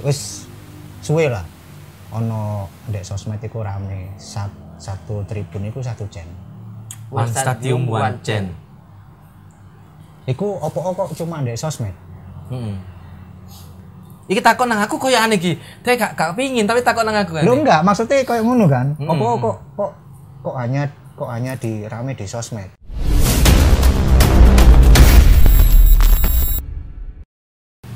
wis suwe lah ono ndek sosmed iku rame Sat- satu tribun iku satu jam One Stadium One Chain. iku opo-opo cuma ndek sosmed Heeh. Iki takon nang aku koyo aneh iki. Teh gak gak pingin tapi takon nang aku. Lu aneh. enggak, maksudnya kayak ngono kan? Mm-mm. Opo kok kok kok hanya kok hanya di rame di sosmed.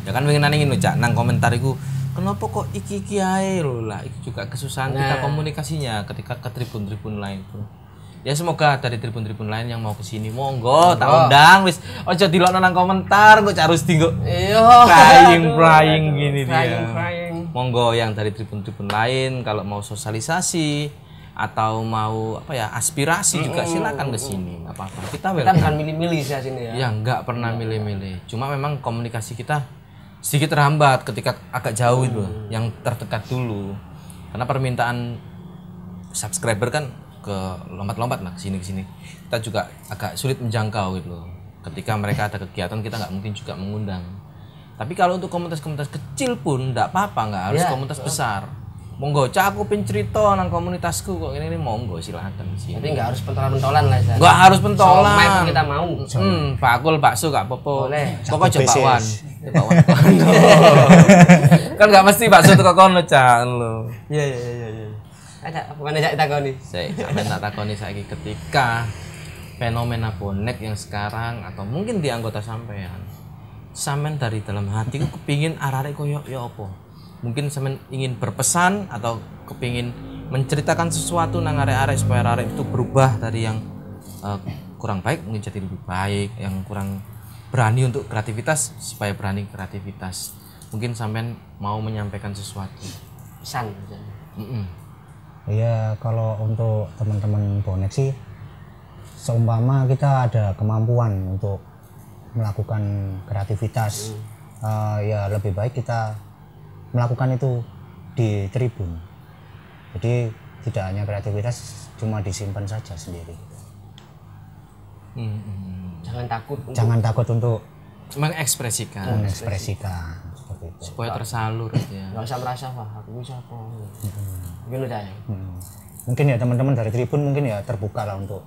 Ya kan pengen nanya ngono, Cak, nang komentar iku. Kenapa kok iki-iki ae lho lah, iki juga kesusahan kita komunikasinya ketika ke tribun-tribun lain pun. Ya semoga dari tribun-tribun lain yang mau ke sini monggo tak undang wis aja dilokno nang komentar kok Cak Rusdi kok Iya. crying crying gini dia. Crying, crying. Monggo yang dari tribun-tribun lain kalau mau sosialisasi atau mau apa ya aspirasi juga silakan ke sini. Apa apa Kita kita welcome. bukan milih-milih sih sini ya. Ya nggak pernah milih-milih. Cuma memang komunikasi kita sedikit terhambat ketika agak jauh itu, Hmm. yang terdekat dulu. Karena permintaan subscriber kan ke lompat-lompat lah sini ke sini. Kita juga agak sulit menjangkau gitu loh. Ketika mereka ada kegiatan kita nggak mungkin juga mengundang. Tapi kalau untuk komunitas-komunitas kecil pun nggak apa-apa, nggak harus Ya. komunitas besar. Monggo, cak aku pin cerita nang komunitasku kok ini ini monggo silakan di sini. Jadi nggak harus pentolan-pentolan lah Ustaz. Nggak harus pentolan. Somai pun kita mau. Hmm, bakul, bakso gak apa-apa. Boleh. Pokoknya Satu coba pieces. wan. Coba wan. kan gak mesti bakso tuh kono cah lo. Iya iya iya iya. Ada apa mana jak takoni? Saya sampai tak takoni saiki ketika fenomena bonek yang sekarang atau mungkin di anggota sampean sampean dari dalam hati ku kepingin arare koyo ya apa mungkin sampean ingin berpesan atau kepingin menceritakan sesuatu nang arek-arek supaya arek itu berubah dari yang eh, kurang baik mungkin jadi lebih baik yang kurang berani untuk kreativitas supaya berani kreativitas mungkin sampean mau menyampaikan sesuatu Pesan. Mm-mm. Iya, kalau untuk teman-teman bonek sih seumpama kita ada kemampuan untuk melakukan kreativitas eh, ya lebih baik kita melakukan itu di tribun. Jadi tidak hanya kreativitas cuma disimpan saja sendiri. Mm-mm. Jangan takut. Jangan takut untuk mengekspresikan mengekspresikan seperti itu. supaya tersalur gitu ya. Enggak usah merasa wah aku bisa apa. Mm-hmm. Mungkin udah ya. Hmm. Mungkin ya teman-teman dari Tribun mungkin ya terbuka lah untuk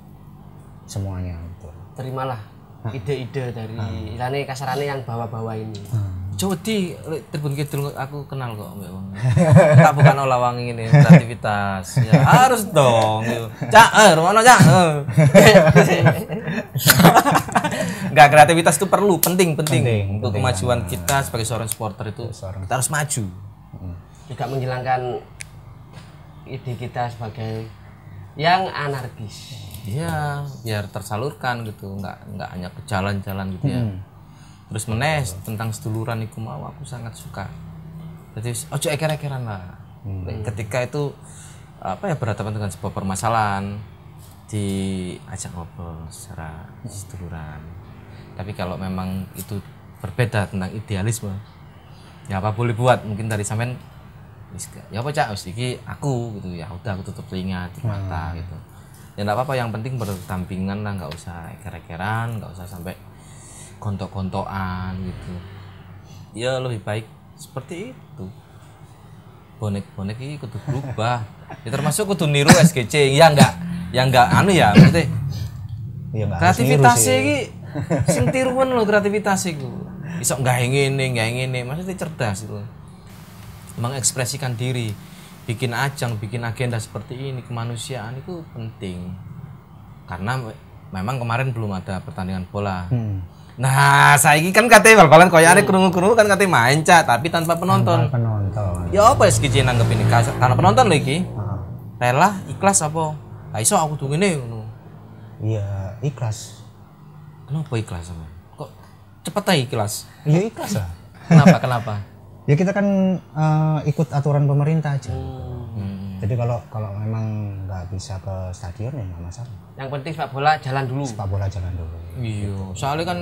semuanya gitu. Terimalah ide-ide dari ilane kasarane yang bawa-bawa ini. Coba di lek Tribun Kidul aku kenal kok Mbak Wong. tak bukan olah wangi ini kreativitas. Ya harus dong. Cak, eh, rumono Cak. eh. Enggak kreativitas itu perlu, penting, penting, Penting, untuk kemajuan kita sebagai seorang supporter itu kita harus maju. Juga menghilangkan ide kita sebagai yang anarkis. Iya, biar tersalurkan gitu, enggak enggak hanya ke jalan-jalan gitu ya. Terus menes tentang seduluran iku mau aku sangat suka. Jadi ojo eker-ekeran lah. Ketika itu apa ya berhadapan dengan sebuah permasalahan diajak ngobrol secara seduluran. Tapi kalau memang itu berbeda tentang idealisme, ya apa boleh buat mungkin dari sampean wis gak- ya apa cak wis iki aku gitu ya udah aku tutup telinga tutup mata gitu ya nggak apa-apa yang penting berdampingan lah nggak usah eker-ekeran nggak usah sampai kontok-kontokan gitu ya lebih baik seperti itu bonek-bonek ini kudu berubah ya termasuk kudu niru SGC ya enggak ya enggak anu ya maksudnya Ya nggak harus niru kreativitas sih. iki sing tiruan lho kreativitas iku iso nggak ngene nggak ngene maksudnya cerdas itu mengekspresikan diri bikin ajang bikin agenda seperti ini kemanusiaan itu penting karena me- memang kemarin belum ada pertandingan bola Hmm. nah saya kan katanya bal-balan koyo aneh kerungu-kerungu kan katanya main cak tapi tanpa penonton penonton. ya apa SKJ nanggep ini Kas- karena penonton lagi Ah, rela ikhlas apa nah iso aku tuh ini Iya ikhlas. Kenapa ikhlas sama? Kok cepet aja ikhlas? Ya ikhlas lah. Kenapa kenapa? Ya kita kan eh, ikut aturan pemerintah aja. Jadi kalau kalau memang nggak bisa ke stadion ya nggak masalah. Yang penting sepak bola jalan dulu. Sepak bola jalan dulu. Iya, soalnya kan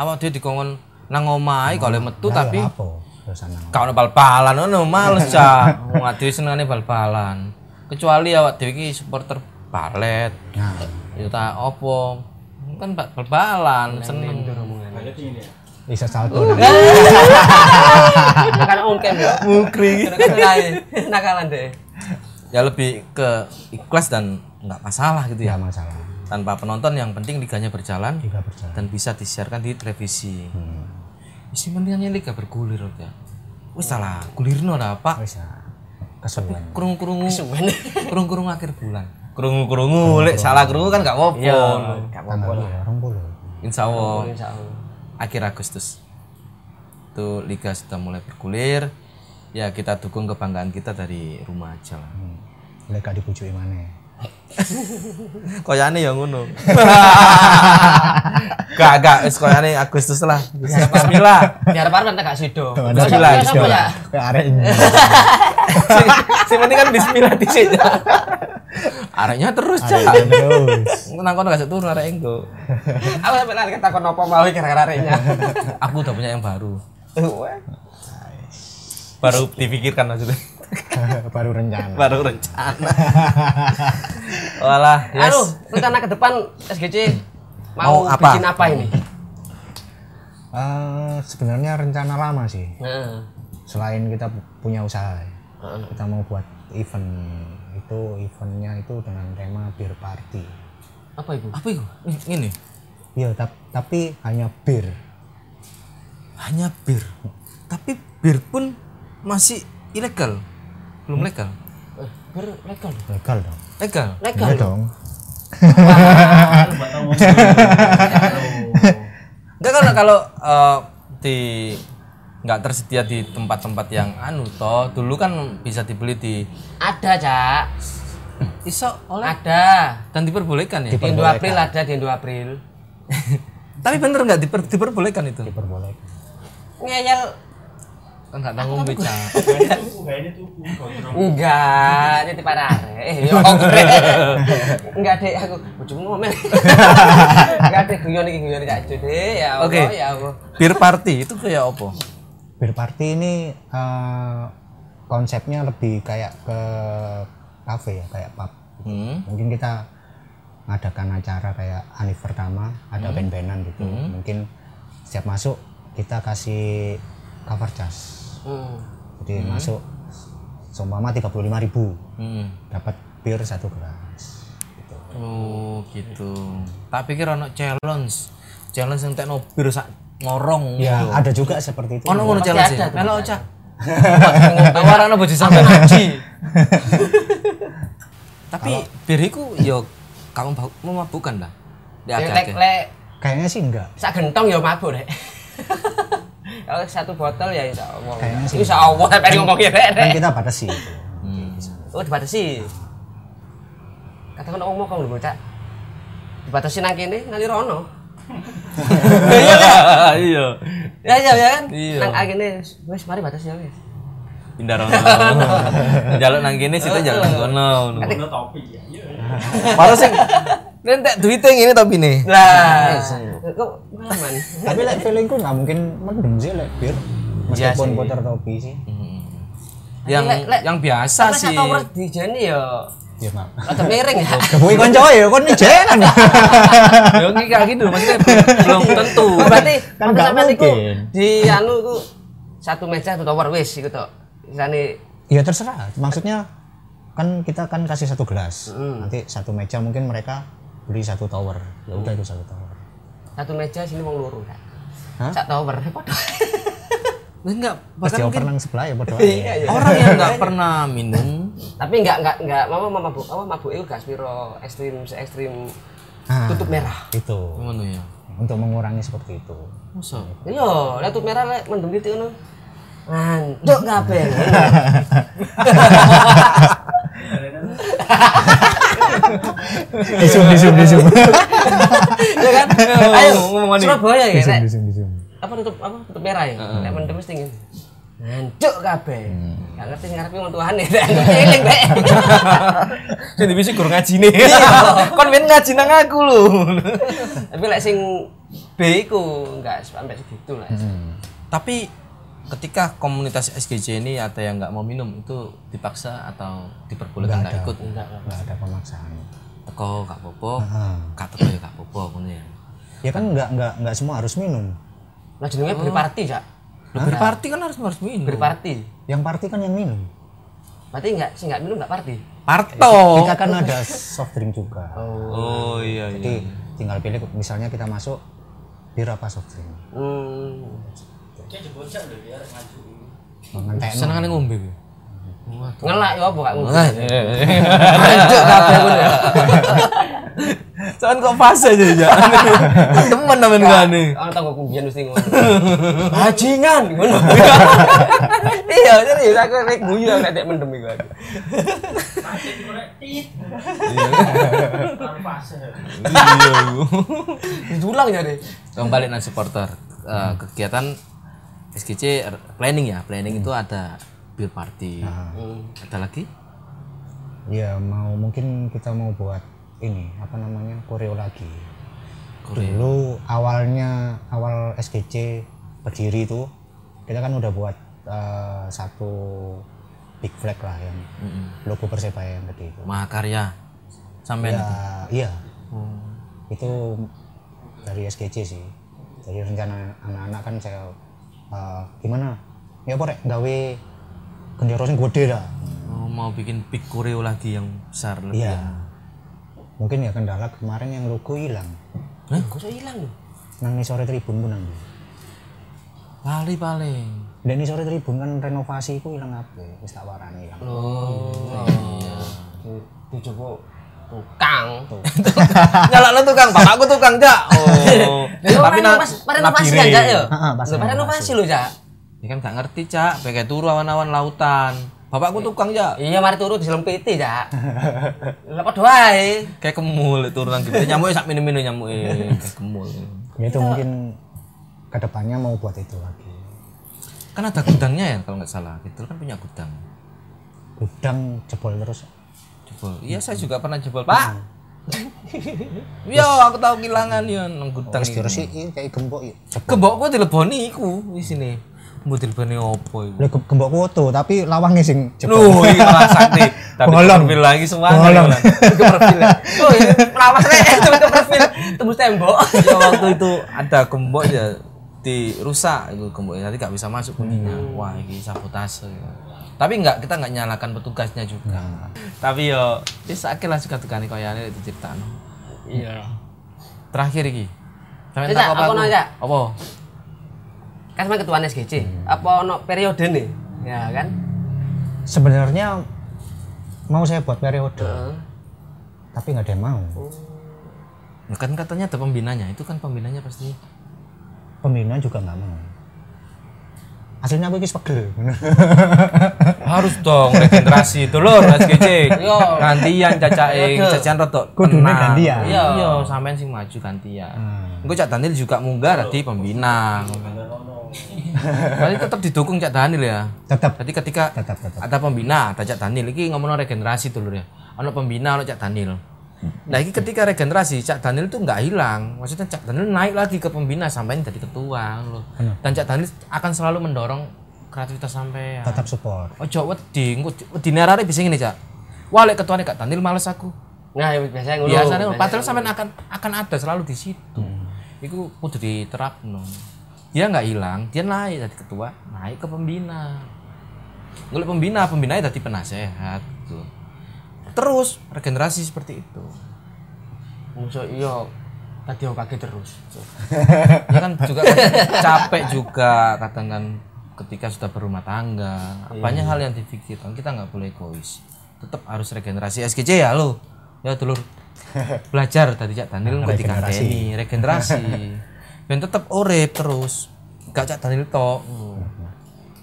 awak dia dikongkon nang omah ae, kalau metu Lah, ya tapi apa? Terus anak. kalau bal-balan ngono males cah. Wong adewe senengane bal-balan. Kecuali awak dhewe iki supporter balet, Nah, ya tak opo. Kan bal- bal-balan seneng. Mundur omongan. bisa salto Uh. nah. Karena om kem ya. mungkri Nakalan deh. ya lebih ke ikhlas dan nggak masalah gitu ya ya masalah tanpa penonton yang penting liganya berjalan juga berjalan dan bisa disiarkan di televisi isi pentingnya liga bergulir Rod, ya wis salah gulirno lah pak Oh, bisa kesuwen kurung kurungu kurung kurungu akhir bulan kurungu kurungu lek salah kurungu kan gak Iya, apa-apa gak apa-apa. tanggal ya orang puluh insya allah Insya Ya Allah. akhir Agustus itu liga sudah mulai bergulir ya kita dukung kebanggaan kita dari rumah aja lah lek gak dibujuki maneh koyane ya ngono gak gak wis koyane Agustus lah Bismillah Biar parman tak gak sido. Bismillah, Siapa bismillah. ya? Kayak arek ini. si, si penting kan Bismillah di sini areknya terus cah Terus. nang kono gak turun arek engko Aku sampe lari ketakon opo mau gara-gara ya. arenya. aku udah punya yang baru baru dipikirkan maksudnya Baru rencana. baru rencana walah ya. yes Anu, rencana ke depan SGC mau, Mau apa? bikin apa ini? Eh, sebenarnya rencana lama sih. Nah, Selain kita pu- punya usaha, ya. kita mau buat event itu eventnya itu dengan tema beer party. apa itu? apa itu ini Iya, tap- tapi hanya bir. hanya bir tapi bir pun masih ilegal belum legal Eh, ber legal. Legal dong. legal Legal. Iya dong. enggak kalau kalau eh, di nggak tersedia di tempat-tempat yang anu toh dulu kan bisa dibeli di Ada, Cak. iso oleh Ada. dan diperbolehkan ya Di Indo April ada di Indo April. tapi bener nggak diper- diperbolehkan itu Diperbolehkan. Ngeyel. enggak tahu ngombe Cak. Enggak, ini tipe rare. Eh, yo. Enggak deh aku bojomu ngomel. Enggak deh guyon iki guyon Cak Jo deh. Ya Allah, Oke. ya Allah. bir party itu kayak apa Beer party ini eh, konsepnya lebih kayak ke cafe ya, kayak pub. hmm. Mungkin kita ngadakan acara kayak Hanif pertama, ada band-bandan gitu. Mungkin setiap masuk kita kasih cover charge. Hmm. Jadi masuk seumpama 35.000 Hmm. dapat bir satu gelas. Gitu. oh gitu tak pikir ono challenge challenge yang tekno bir sak ngorong Ya, ada juga seperti itu. ono ngono Pasti challenge ada, ya pasti melo ada. Cak. Tawaran bojo sampean haji. Tapi bir iku yo kamu bau- memabukkan lah. Ya Yang agak. lek Kayaknya sih enggak. sak gentong ya mabuk rek. Kalau satu botol ya insya Allah. Kayaknya sih. Insya Allah pengen ngomongin rek. Kan kita batasi itu. Oh dibatasi. Katakan ngomong kamu dulu cak. Dibatasi nang kene nanti rono. Iya. Ya iya ya kan. Iya. Nang kene wes mari batasi ya wes. Pindah rono. Jaluk nang kene situ jaluk nang kono. Padahal sing nentek duite ngene tapi nih. Lah. Kok pengalaman. Tapi like feelingku nggak mungkin mendem sih like bir. Iya Meskipun putar topi sih. Hmm. Yang Lek, lek. yang biasa Masa sih. kau pernah dijeni ya. Ya maaf. Ada miring ya. Kowe kanca ya kon iki jalan. Yo iki kayak gitu maksudnya belum tentu. Oh, berarti Kan waktu nggak sampean iku mungkin. di anu iku satu meja satu tower wis iku tok. Misalnya Ya terserah. Maksudnya kan kita kan kasih satu gelas. Hmm. Nanti satu meja mungkin mereka beli satu tower. Ya udah itu satu tower. satu meja sini wong loro kan. Hah? Sak tower eh, padha. Enggak, Pas bahkan dioper mungkin nang sebelah ya bodo ae. Iya, iya. orang yang nggak pernah minum Tapi enggak enggak enggak mama mama mabuk. Apa mabuk itu gak spiro ekstrim se ekstrim Ah, tutup merah. Itu ngono ya. untuk mengurangi seperti itu. Masa? Iya, lek tutup merah lek mendem titik ngono. Anjuk kabeh. Iya. Disum disum disum. Ya kan? Ayo Surabaya ya lek Disum disum. apa tutup apa tutup merah ya. Lek mendem mesti ngene. Anjuk kabeh. Hmm. Gak ngerti ngarepe wong tuane. Eling Dek. Jadi bisa kurang ngaji nih. Iya, Kon main ngaji nang aku lu. Tapi lek sing B iku enggak sampai segitu lah. Hmm. Tapi ketika komunitas SGJ ini ada yang nggak mau minum itu dipaksa atau diperbolehkan nggak ikut Enggak lah. Enggak ada pemaksaan. teko gak popo Heeh. gak teko ya gak popo ngono ya Ya kan enggak enggak enggak semua harus minum. Lah jenenge Oh. beri party, Cak. Lah, berparti kan harus harus minum. Beri party. Yang party kan yang minum. Berarti enggak sih enggak minum enggak party. Parto. Kita kan ada soft drink juga. Oh iya iya. Jadi tinggal pilih misalnya kita masuk bir apa soft drink. Hmm. Ngentek. Senengane ngombe gue. Ngelak ya apa Kak? iya. Lanjut kabeh gue. Cuman kok pas aja ya. Temen temen gue nih. Orang tanggo kumbian mesti ngono. Bajingan ngono. Iya, serius aku rek guyu aku nek mendem iku. aku. Iya. Didulang ya, Dek. Kembali nang supporter Eh, kegiatan SGC er, planning ya. Planning itu ada beer party. Ada lagi? Ya mau mungkin kita mau buat ini apa namanya koreo lagi. Dulu awalnya awal SGC berdiri itu kita kan udah buat eh, satu big flag lah yang logo persebaya yang gede itu. Mahakarya. Sampai Ya, iya. Oh, Itu dari SGC sih. Dari rencana anak-anak kan saya eh, gimana? Ya apa rek gawe gendera sing gede dah. Oh, mau bikin big koreo lagi yang besar lebih. ya? Iya. Mungkin ya kendala kemarin yang logo hilang. Hah? Kok iso ilang? Nang sore tribun pun nang. Paling paling. Dan sore tribun kan renovasi itu hilang apa? Wis tak warani hilang. Oh. Di- Dicoba tukang. Nyala lo tukang, bapakku tukang jak. Oh. Lho, renovasi, renovasi kan, Cak, ya? Heeh, pas Lho, renovasi lho, Cak. Ini kan gak ngerti cak, pakai turu awan-awan lautan. Bapakku tukang jak. Iya, mari turu di dalam PT, Cak. Lah padha wae. Kayak kemul turu nang gitu. Nyamuk sak minum-minum nyamuk. Kayak kemul. Ya itu mungkin kedepannya mau buat itu lagi. Kan ada gudangnya ya kalau nggak salah. Gitu kan punya gudang. Gudang jebol terus. Jebol. Iya saya juga pernah jebol pak. Yo aku tahu kehilangan yo nang gudang. Terus diresiki kayak gembok yuk. Kebokku dileboni iku di sini. Mbok dileboni opo iku? Lho gem- gembok foto tapi lawange sing jebol. Nuh, iki malah sakti. Tapi Bolong. profil lagi semua. Bolong. Ke profil. Oh, iya, lawas rek, Cuma ke profil. Tembus tembok. Ya, waktu itu ada gembok ya dirusak itu gemboknya nanti gak bisa masuk kuncinya wah ini sabotase tapi nggak kita nggak nyalakan petugasnya juga tapi yo ya sakit lah juga tukang koyane itu cerita Iya. terakhir iki sampe Cak, tak aku nanya, Cak. apa Kan sama ketua SGC. Apa ono periode nih? Ya kan? Sebenarnya mau saya buat periode, Heeh. tapi nggak ada yang mau. Nah, kan katanya ada pembinanya itu kan pembinanya pasti Pembinaan juga nggak mau. Aslinya aku ini pegel. harus dong regenerasi dulur SGC Yo. gantian cacaing Yo, Dul. cacain rotok Kudune gantian. iya Yo. iya sampean sing maju gantian engko Cak Daniel juga munggah tadi pembina tapi tetap didukung Cak Daniel ya Tetap, jadi ketika tetap, tetap. ada pembina ada Cak Daniel iki ngomong regenerasi dulur ya ono pembina ono Cak Daniel nah ini ketika regenerasi Cak Daniel tuh nggak hilang maksudnya Cak Daniel naik lagi ke pembina sampean jadi ketua loh dan Cak Daniel akan selalu mendorong kreativitas sampean Tetap support. Ojo wedi, engko wedi nerare bisa ngene, Cak. Wah, lek ketuane Kak Daniel males aku. Nah, ya biasanya ngono. Biasanya padahal sampean akan akan ada selalu di situ. Iku kudu diterapno. Dia nggak hilang, dia naik dari ketua, naik ke pembina. Ngoleh pembina, pembina tadi penasehat gitu. Terus regenerasi seperti itu. Musuh iya. Tadi aku kaget terus. Ya kan juga kan capek juga kadang kan ketika sudah berumah tangga banyak hal yang dipikirkan kita nggak boleh egois tetap harus regenerasi SGC ya lo ya dulur belajar dari Cak Daniel nggak dikandani regenerasi dan tetap urip terus gak Cak Daniel tok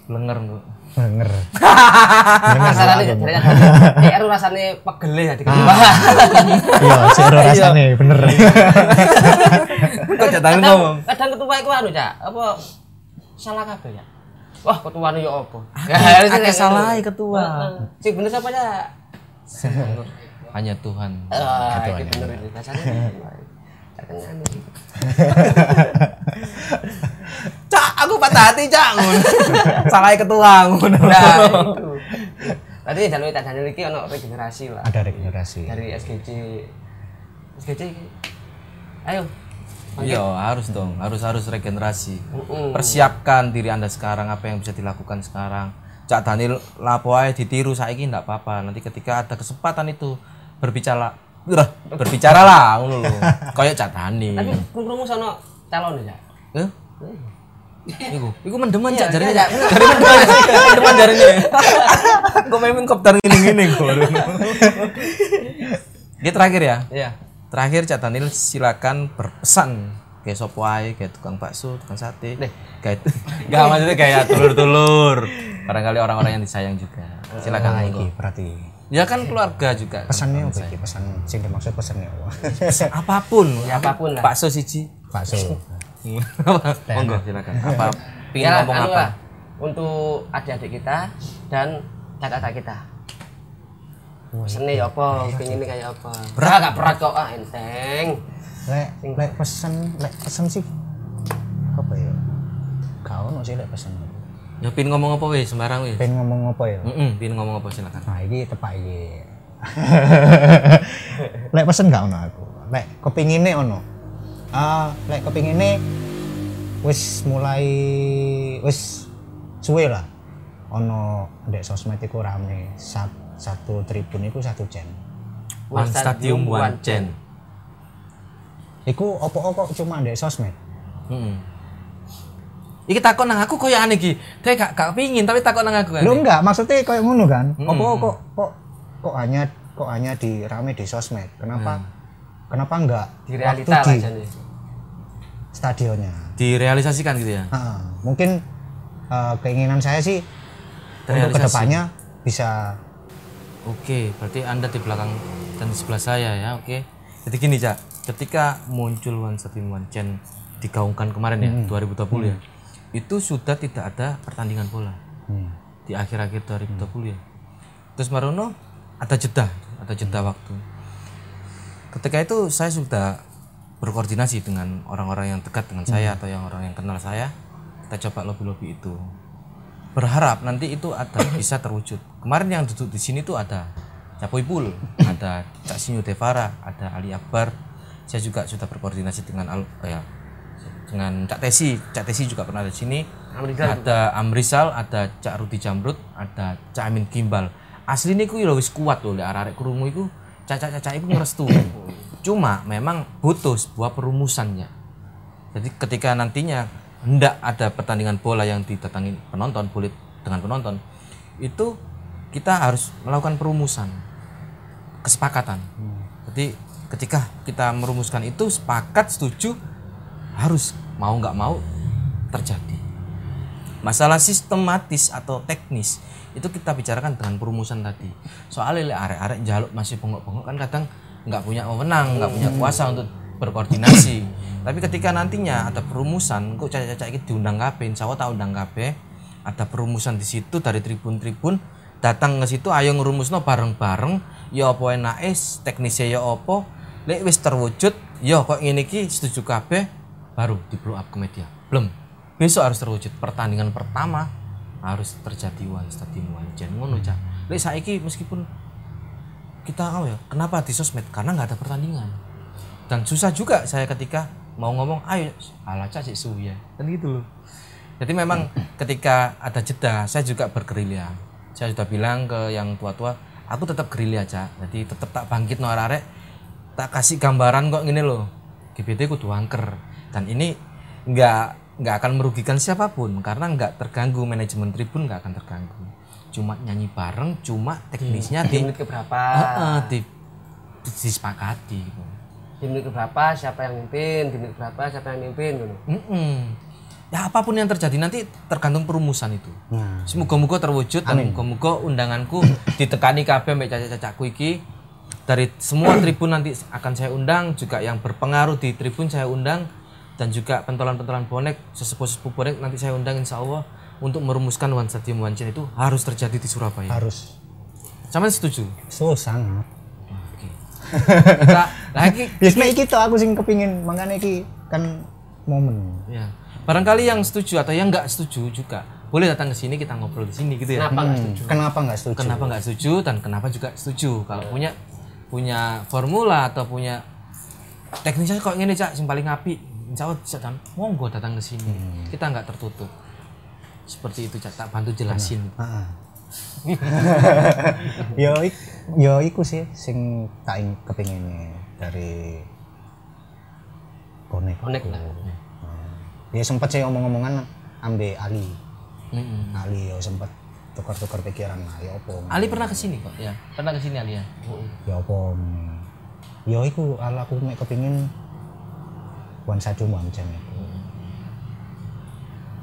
lenger kok Bener. Rasane jadinya eh aku rasane pegel ya dikembang. Iya, seru rasanya, bener. Iya. kok Cak Daniel ngomong Kadang ketua iku anu, Cak. Apa salah kabeh ya? Wah, ketuane yo apa? Ya, harusnya akeh kayak salahnya gitu. ketua. Heeh. Sing bener siapa ya? hanya Tuhan Ah, iki bener iki. Rasane. Terkenal. Cak aku patah hati Cak salahnya ketua ngono. Nah, itu. Tadi jalur tak jalur iki ono regenerasi lah Iya. Ada regenerasi. dari SGC. SGC. Ayo. Iya, harus dong. Harus harus regenerasi. Persiapkan diri Anda sekarang apa yang bisa dilakukan sekarang. Cak Daniel lapo ae ditiru saiki ndak apa-apa. Nanti ketika ada kesempatan itu berbicara lah, berbicara lah ngono lho. Kayak Cak Tapi Daniel. krungu sono calon ya. Eh? Iku, iku mendeman cak jarine iya, cak. Dari mendeman, mendeman jarine. Kok main kopdar ngene-ngene kok. Ini terakhir ya. Iya. Terakhir Cak Daniel silakan berpesan kayak sop wae, kayak tukang bakso, tukang sate, kayak enggak maksudnya kayak telur-telur. Barangkali orang-orang yang disayang juga. Silakan Nah, Aiko. iki berarti Ya kan keluarga juga. kan. pesannya apa iki? Pesan sing dimaksud pesannya apa? Ya Apapun, apapun lah. Bakso siji. Bakso. Monggo silakan. Apa pingin Ya, ngomong anu apa? lah, Untuk adik-adik kita dan kakak-kakak kita. Seni ya apa, pingin ini kayak apa. Berat gak berat kok ah enteng. Lek lek pesen, lek pesen sih. Apa ya? Gak ono sih lek pesen. Ya pin ngomong apa wis sembarang wis. Pengen ngomong apa ya? Heeh, pin ngomong apa silakan. Nah, ini tepak iki. lek pesen gak ono aku. Lek kepingine ono. Ah, lek kepingine wis mulai wis suwe lah. Ono ndek sosmed iku rame. Sat, satu tribun iku satu jam. One Stadium One Chain. Iku opo-opo cuma ndek sosmed. Heeh. Iki takon nang aku koyo aneh iki. Teh gak gak pingin tapi takon nang aku. Lu aneh. enggak, maksudnya kayak ngono kan? Hmm. Apa kok kok kok hanya kok hanya di rame di sosmed? Kenapa? Kenapa enggak Hmm. Di realita lah waktu di jadi. stadionnya? Direalisasikan gitu ya. Ah, mungkin eh, keinginan saya sih untuk Terrealisasi. kedepannya bisa Oke, berarti Anda di belakang dan di sebelah saya ya, oke. Jadi gini, Cak. Ketika muncul One Stadium One Chain digaungkan kemarin ya, 2020 ya. Itu sudah tidak ada pertandingan bola. Di akhir-akhir 2020 ya. Terus Marono ada jeda, ada jeda waktu. Ketika itu saya sudah berkoordinasi dengan orang-orang yang dekat dengan saya atau yang orang yang kenal saya. Kita coba lobby-lobby itu berharap nanti itu ada bisa terwujud. Kemarin yang duduk di sini tuh ada Capoy Pul, ada Cak Sinyo Devara, ada Ali Akbar. Saya juga sudah berkoordinasi dengan Al, eh, ya, dengan Cak Tesi. Cak Tesi juga pernah ada di sini. Anu Nah, ada Amrisal, ada Cak Rudi Jamrut, ada Cak Amin Gimbal. Asli ini ku ya wis kuat loh, lek arek krungu iku cacak-cacak iku ngerestu. Cuma memang butuh sebuah perumusannya. Jadi ketika nantinya hendak ada pertandingan bola yang didatangin penonton, bulit dengan penonton, itu kita harus melakukan perumusan, kesepakatan. Jadi ketika kita merumuskan itu sepakat setuju harus mau nggak mau terjadi. Masalah sistematis atau teknis itu kita bicarakan dengan perumusan tadi. Soalnya lek arek-arek jaluk masih bengok-bengok kan kadang nggak punya wewenang, nggak punya kuasa untuk berkoordinasi. Tapi ketika nantinya ada perumusan, kok caca-caca iki diundang kabeh, insya Allah tak undang kabeh. Ada perumusan di situ dari tribun-tribun datang ke situ ayo ngerumusno bareng-bareng ya apa enake teknisnya ya apa lek wis terwujud ya kok ngene iki setuju kabeh baru di blow up ke media belum besok harus terwujud pertandingan pertama harus terjadi one stadium one Chain. ngono cak lek saiki meskipun kita apa ya kenapa di sosmed karena nggak ada pertandingan dan susah juga saya ketika mau ngomong ayo ala cak sik suwi ya kan gitu loh jadi memang ketika ada jeda saya juga bergerilya saya sudah bilang ke yang tua-tua aku tetap gerilya cak jadi tetap tak bangkit no arek tak kasih gambaran kok gini loh GBT kudu angker dan ini nggak nggak akan merugikan siapapun karena nggak terganggu manajemen tribun nggak akan terganggu cuma nyanyi bareng cuma teknisnya Di di menit keberapa? Heeh, di, di- disepakati gitu. Di menit keberapa siapa yang mimpin? Di menit keberapa siapa yang mimpin? Gitu. Mm-mm. Ya apapun yang terjadi nanti tergantung perumusan itu. Nah. Semoga-moga terwujud dan moga-moga undanganku ditekani kabeh mbek cacak-cacakku iki. Dari semua tribun nanti akan saya undang juga yang berpengaruh di tribun saya undang dan juga pentolan-pentolan bonek sesepuh-sesepuh bonek nanti saya undang insya Allah untuk merumuskan One Stadium One Chain itu harus terjadi di Surabaya. harus Sama setuju? susah sangat. Oke. Kita lagi Biasanya iki tuh aku sing kepingin makanya iki kan momen. Ya. Barangkali yang setuju atau yang nggak setuju juga boleh datang ke sini kita ngobrol di sini gitu ya. Kenapa nggak setuju? Kenapa nggak setuju? Kenapa nggak setuju dan kenapa juga setuju? Kalau punya punya formula atau punya teknisnya kok ini cak yang paling api insya Allah bisa dan monggo datang ke sini kita nggak tertutup seperti itu Cak. tak bantu jelasin Heeh. yo ik- yo iku sih sing tak ing- kepingin dari konek. Konek lah. Ya sempet sih omong-omongan ambe Ali. Mm-mm. Ali yo sempet tukar-tukar pikiran lah ya opo. Ali pernah ke sini kok ya pernah ke sini Ali ya Ya opo. Yo iku ala aku mek kepingin wan satu wan jam iku.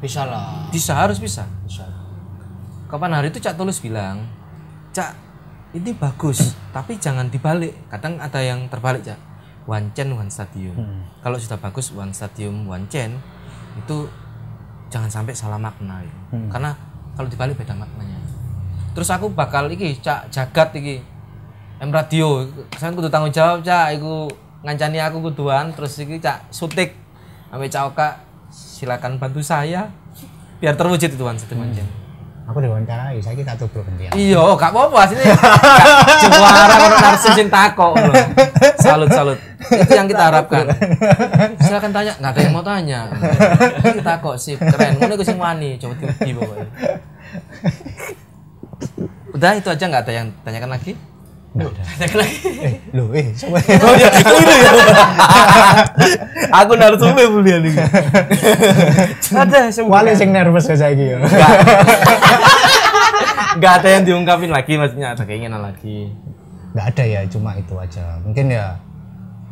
Bisa lah. bisa harus bisa Bisa. kapan hari itu Cak Tulus bilang Cak ini bagus tapi jangan dibalik kadang ada yang terbalik Cak one chain one stadium kalau sudah bagus one stadium one chain itu jangan sampai salah makna ya. karena kalau dibalik beda maknanya terus aku bakal iki Cak jagat iki M radio kesan kudu tanggung jawab Cak iku ngancani aku kuduan terus iki Cak sutik ambil Cak Oka silakan bantu saya biar terwujud itu one stadium one chain Aku diwawancarai, saya tak tubruk gantian. Iya, gak apa-apa aslinya. Juara kalau narsis yang takok lho. Salut salut. Itu yang kita harapkan. Silakan tanya, nggak ada yang mau tanya. Kita takok sip, keren. Mulai gue sing wani, coba tiba pokoknya. Udah itu aja nggak ada yang tanyakan lagi. Tanyakan lagi. Eh, lho eh sampe Oh ya, itu ya. Aku narasumber mulia nih. Ada semua. Wale sing nervous ya saiki yo. Nggak ada yang diungkapin lagi maksudnya ada keinginan lagi. nggak ada ya cuma itu aja mungkin ya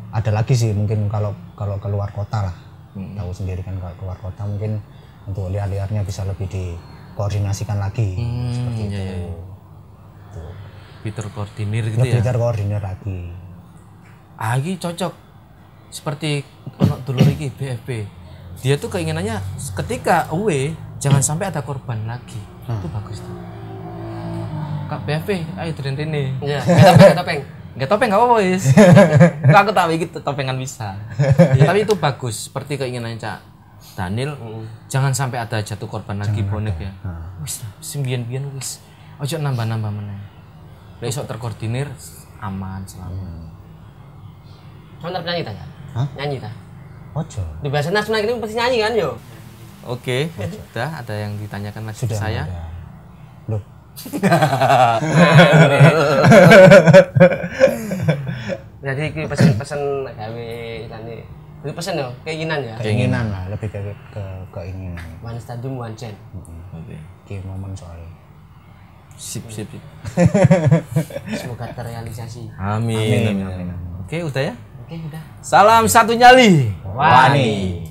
ada lagi sih mungkin kalau kalau keluar kota lah Hmm. tahu sendiri kan kalau keluar kota mungkin untuk liar-liarnya bisa lebih dikoordinasikan lagi seperti itu. Peter koordinir gitu lebih ya. terkoordinir lagi Ah, ini cocok. Seperti anak dulur iki BFP. Dia tuh keinginannya ketika away jangan sampai ada korban lagi. Itu bagus tuh. Kak BFP, ayo dren rene. Iya, topeng topeng. Nggak topeng nggak apa-apa wis. Nggak, aku tak gitu topengan bisa. Tapi itu bagus seperti keinginannya Cak Daniel. Jangan sampai ada jatuh korban lagi bonek ya. Wis sembian-bian wis. Ojo nambah-nambah meneh. Besok terkoordinir aman selalu. Kamu ntar nyanyi tak? Cak? Hah? Nyanyi tak? ojo Di bahasa nasional ini pasti nyanyi kan yo. Oke, sudah ada yang ditanyakan lagi ke ya saya. ada. Loh, Jadi iki pesen-pesen gawe nanti. Itu pesen yo, keinginan ya. keinginan lah lebih ke, ke keinginan One stadium one chain. Oke. Oke, momen soalnya Sip, sip, sip. Semoga terrealisasi. Amin. amin, amin. Oke, udah ya. Oke, udah. Salam satu nyali. Wani.